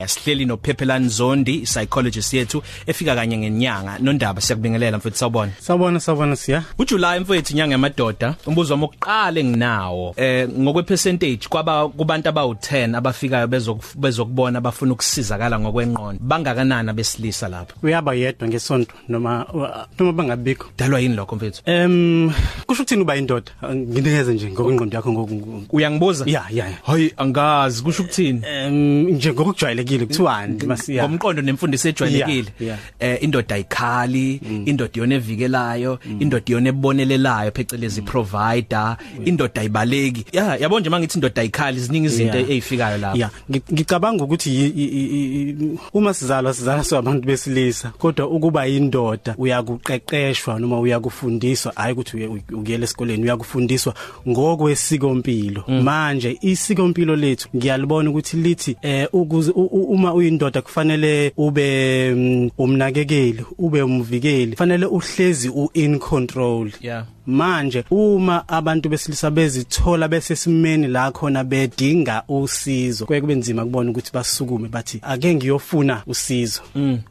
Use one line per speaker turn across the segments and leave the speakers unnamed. Yasihleli noPhephelani Zondi, psychologist yethu efika kanye ngenyanga. Nondaba siyakubingelela mfethu sawubona.
Sawubona sawubona siya.
UJuly mfethu inyanga yamadoda. Umbuzo wami oqala enginawo. Eh ngokwe percentage kwaba kubantu abawu10 abafikayo bezok- bezokubona abafuna ukusizakala ngokwenqondo. Bangakanani besilisa lapho?
Uyaba yedwa ngesonto noma wa- noma bangabikho.
Dalwa yini lokho mfethu?
Em kusho ukuthini uba indoda? Nginikeze nje ngokwengqondo yakho ngoku.
Uyangibuza?
Ya ya. ya.
Hayi angazi kusho ukuthini?
Em nje ngokujwayelekile kuthiwani masiya.
ngomqondo nemfundiso ejwayelekile
Yeah, Mm. yeah.
eh indoda ayikhali indoda iyona evikelayo
Mm.
indoda iyona ebonelelayo phecelezi provider indoda ayibaleki ya yabo nje mangithi indoda ayikhali ziningi izinto
Yeah.
ezifikayo lapha
Ya, ngi- ngicabanga ukuthi yi- i- i- i- uma sizalwa sizalwa sobantu besilisa, kodwa ukuba yindoda uyakuqeqeshwa noma uyakufundiswa, hayi ukuthi uye- uy- ukuyela esikoleni uyakufundiswa ngokwesiko mpilo. Manje isiko mpilo lethu ngiyalibona ukuthi lithi eh ukuze u- u- uma uyindoda kufanele ube mm, umnakekeli, ube umvikeli, kufanele uhlezi u in control.
yeah
manje uma abantu besilisa bezithola besesimeni la khona bedinga usizo kuye kube nzima kubona ukuthi basukume bathi ake ngiyofuna usizo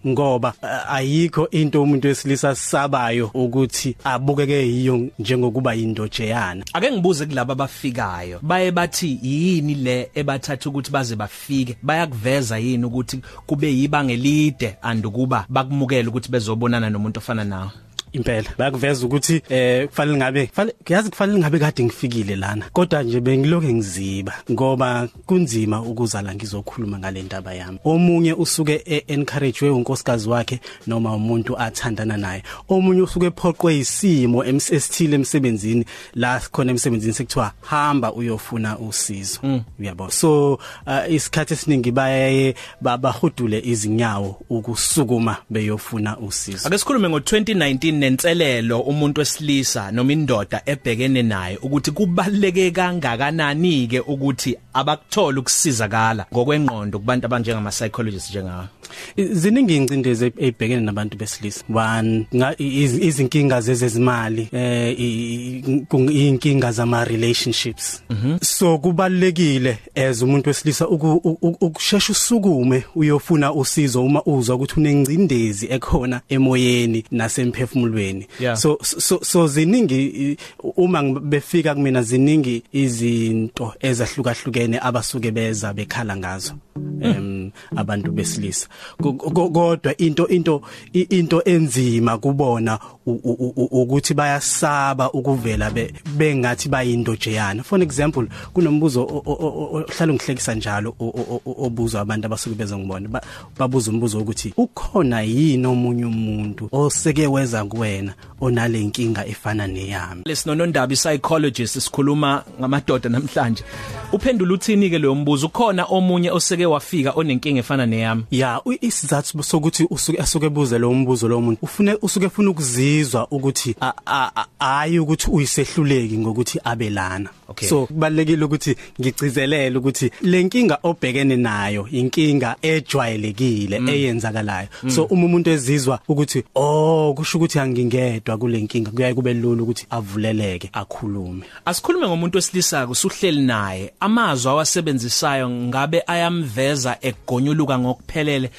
ngoba eh, ayikho into umuntu wesilisa sabayo ukuthi abukeke yiyo njengokuba indojeyana
ake ngibuze kulabo abafikayo baye bathi yini le ebathatha ukuthi baze bafike bayakuveza yini ukuthi kube yibanga elide andukuba bakumukele ukuthi bezobonana nomuntu ofana nawe
impela bayakuveza ukuthi eh kufanele ngabe kufanele- yazi kufanele ngabe kade ngifikile lana kodwa nje bengiloke ngiziba ngoba kunzima ukuza la ngizokhuluma ngale ndaba yami omunye usuke e-encouragewe unkosikazi wakhe noma umuntu athandana naye omunye usuke ephoqwe isimo ems- esithile emsebenzini la khona emsebenzini sekuthiwa hamba uyofuna usizo uyabo so uh, isikhathi esiningi baye bahudule izinyawo ukusukuma beyofuna usizo
Ake sikhulume ngo2019 nenselelo umuntu wesilisa noma indoda ebhekene naye ukuthi kubaleke kangakanani ke ukuthi abakuthola ukusizakala ngokwenqondo kubantu abanjengama psychologists njengawe.
ziningi ingcindezi ebhekene nabantu besilisa one nga- i- iz- izinkinga zezezimali eh i- i- kung- iy'nkinga zama relationships so kubalekile as umuntu wesilisa uku- u- u- ukushesha usukume uyofuna usizo uma uzwa ukuthi unengcindezi ekhona emoyeni nasemphefumulweni
Yeah.
so so so ziningi i- uma ngi- befika kumina ziningi izinto ezahlukahlukene abasuke beza bekhala ngazo em abantu besilisa Ko- ko- kodwa into into i- into enzima kubona u- u- u- u- ukuthi bayasaba ukuvela be- bengathi bayindojeyana for example kunombuzo o- o- o- o- ohlala ngihlekisa njalo o- o- o- obuzwa abantu abasuke beze ngibona Ba- babuza umbuzo ukuthi ukhona yini omunye umuntu oseke weza kuwena onalenkinga efana neyami
Lesinonondaba psychologist sikhuluma ngamadoda namhlanje. Uphendula uthini ke lo mbuzo khona omunye oseke wafika onenkinga efana neyami.
ya u- isizathu sokuthi usuke asuke ebuze lo mbuzo lo muntu ufune usuke ufuna ukuzizwa ukuthi a- a- a- hayi ukuthi uyisehluleki ngokuthi abelana
Okay.
so kubalekile ukuthi ngigcizelele ukuthi lenkinga obhekene nayo inkinga ejwayelekile eyenzakalayo so uma umuntu ezizwa ukuthi oh kusho ukuthi angingedwa kulenkinga kuyaye kube lulu ukuthi avuleleke akhulume
Asikhulume ngomuntu wesilisa kusuhleli naye amazwi awasebenzisayo ngabe ayamveza egonyuluka ngokuphelele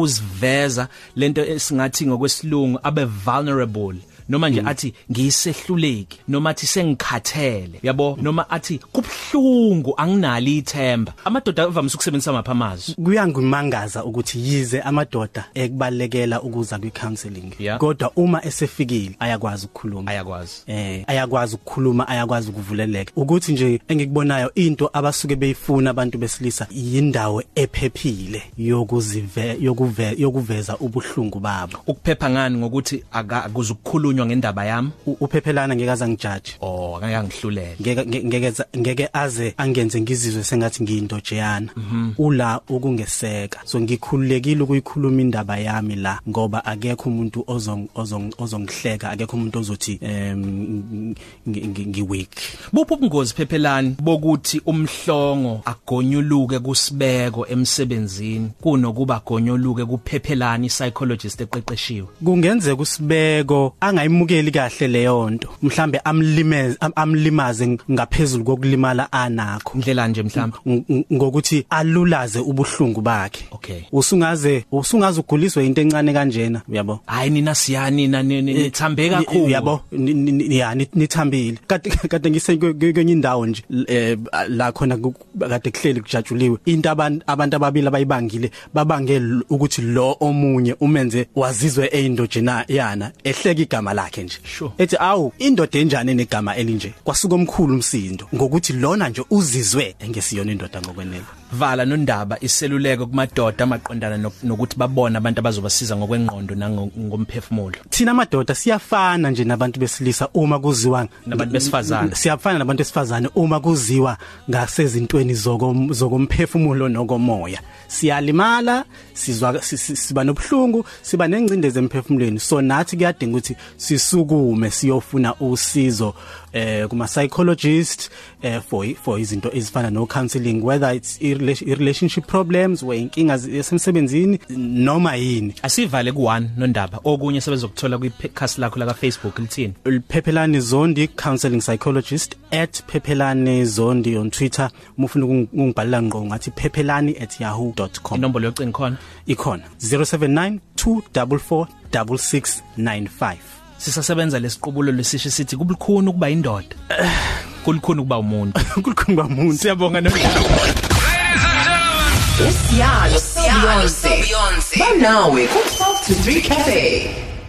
nokuziveza lento esingathi ngokwesilungu abe vulnerable noma nje athi ngiyisehluleki noma athi sengikhathele yabo noma athi kubhlungu anginali ithemba amadoda avamise ukusebenzisa mapha amazwi
kuyangimangaza ukuthi yize amadoda ekubalekela ukuza kwi-counseling
Yeah.
kodwa uma esefikile ayakwazi ukukhuluma
ayakwazi
eh ayakwazi ukukhuluma ayakwazi ukuvuleleka ukuthi nje engikubonayo into abasuke beyifuna abantu besilisa yindawo ephephile yokuzive yokuve yokuveza ubuhlungu babo
ukuphepha ngani ngokuthi aka- akuze ukukhulunywa ngendaba yami
U- uphephelana ngeke azangijaji
oh akake angihlulele
ngeke nge- ngeke za- ngeke aze angenze ngizizwe sengathi ngiyindojeyana ula ukungeseka so ngikhululekile ukuyikhuluma indaba yami la ngoba akekho umuntu ozong- ozong- ozongihleka akekho umuntu ozothi em, ngi- ngi- ngi weak
Buphu ubungozi phephelani bokuthi umhlongo agonyuluke kusibeko emsebenzini kunokuba agonyuluke kuphephelani psychologist eqeqeshiwe.
kungenzeka usibeko angayi akayimukeli kahle leyo nto mhlambe amlimeze am- amlimaze ngaphezulu kokulimala anakho
indlela nje mhlamba
ng- ng- ngokuthi alulaze ubuhlungu bakhe
Okay.
usungaze usungaze uguliswa into encane kanjena uyabo
hayi nina siyani nina nithambe kakhulu
Ni- yabo ni- ni- ni- ya ni- nithambile kade kade ngisenkenye indawo nje l- eh, ba- la khona ku- kade kuhleli kujatshuliwe into abantu abantu ababili abayibangile babange l- ukuthi lo omunye umenze wazizwe eyindojena yana ehleka igama lakhe nje
Sure.
ethi awu indoda enjani negama elinje kwasuka omkhulu umsindo ngokuthi lona nje uzizwe engesiyona indoda ngokwenene
vala nondaba iseluleko kumadoda amaqondana nok- nokuthi babone abantu abazobasiza ngokwengqondo nangomphefumulo
thina madoda siyafana nje nabantu besilisa uma kuziwa
Nabantu besifazane.
siyafana nabantu besifazane uma kuziwa ngasezintweni zokom- zokomphefumulo nokomoya siyalimala sizwa si- si- siba nobhlungu siba nengcindezelo emphefumulweni so nathi kuyadinga ukuthi sisukume siyofuna usizo eh kuma psychologist eh for i- for izinto ezifana no counseling whether it's i- rela- i- relationship problems where inkinga esemsebenzini noma yini
asivale ku1 nondaba okunye sebezokuthola kwiphekast lakho la kaFacebook lithini
uPhepelani Zondi counseling psychologist @phepelani zondi on Twitter mufuna ukungibhalela ngqo ngathi phepelani@yahoo.com
inombolo yocingo khona
ikhona 0792446695
sisasebenza lesiqubule lesisho sithi kubukhulu kuba indoda kulikhulu kuba umuntu
unkulunkulu bamuntu
siyabonga nondaba
Siyalo, siyalo, Beyonce. Banawe ku 12 to 3 cafe.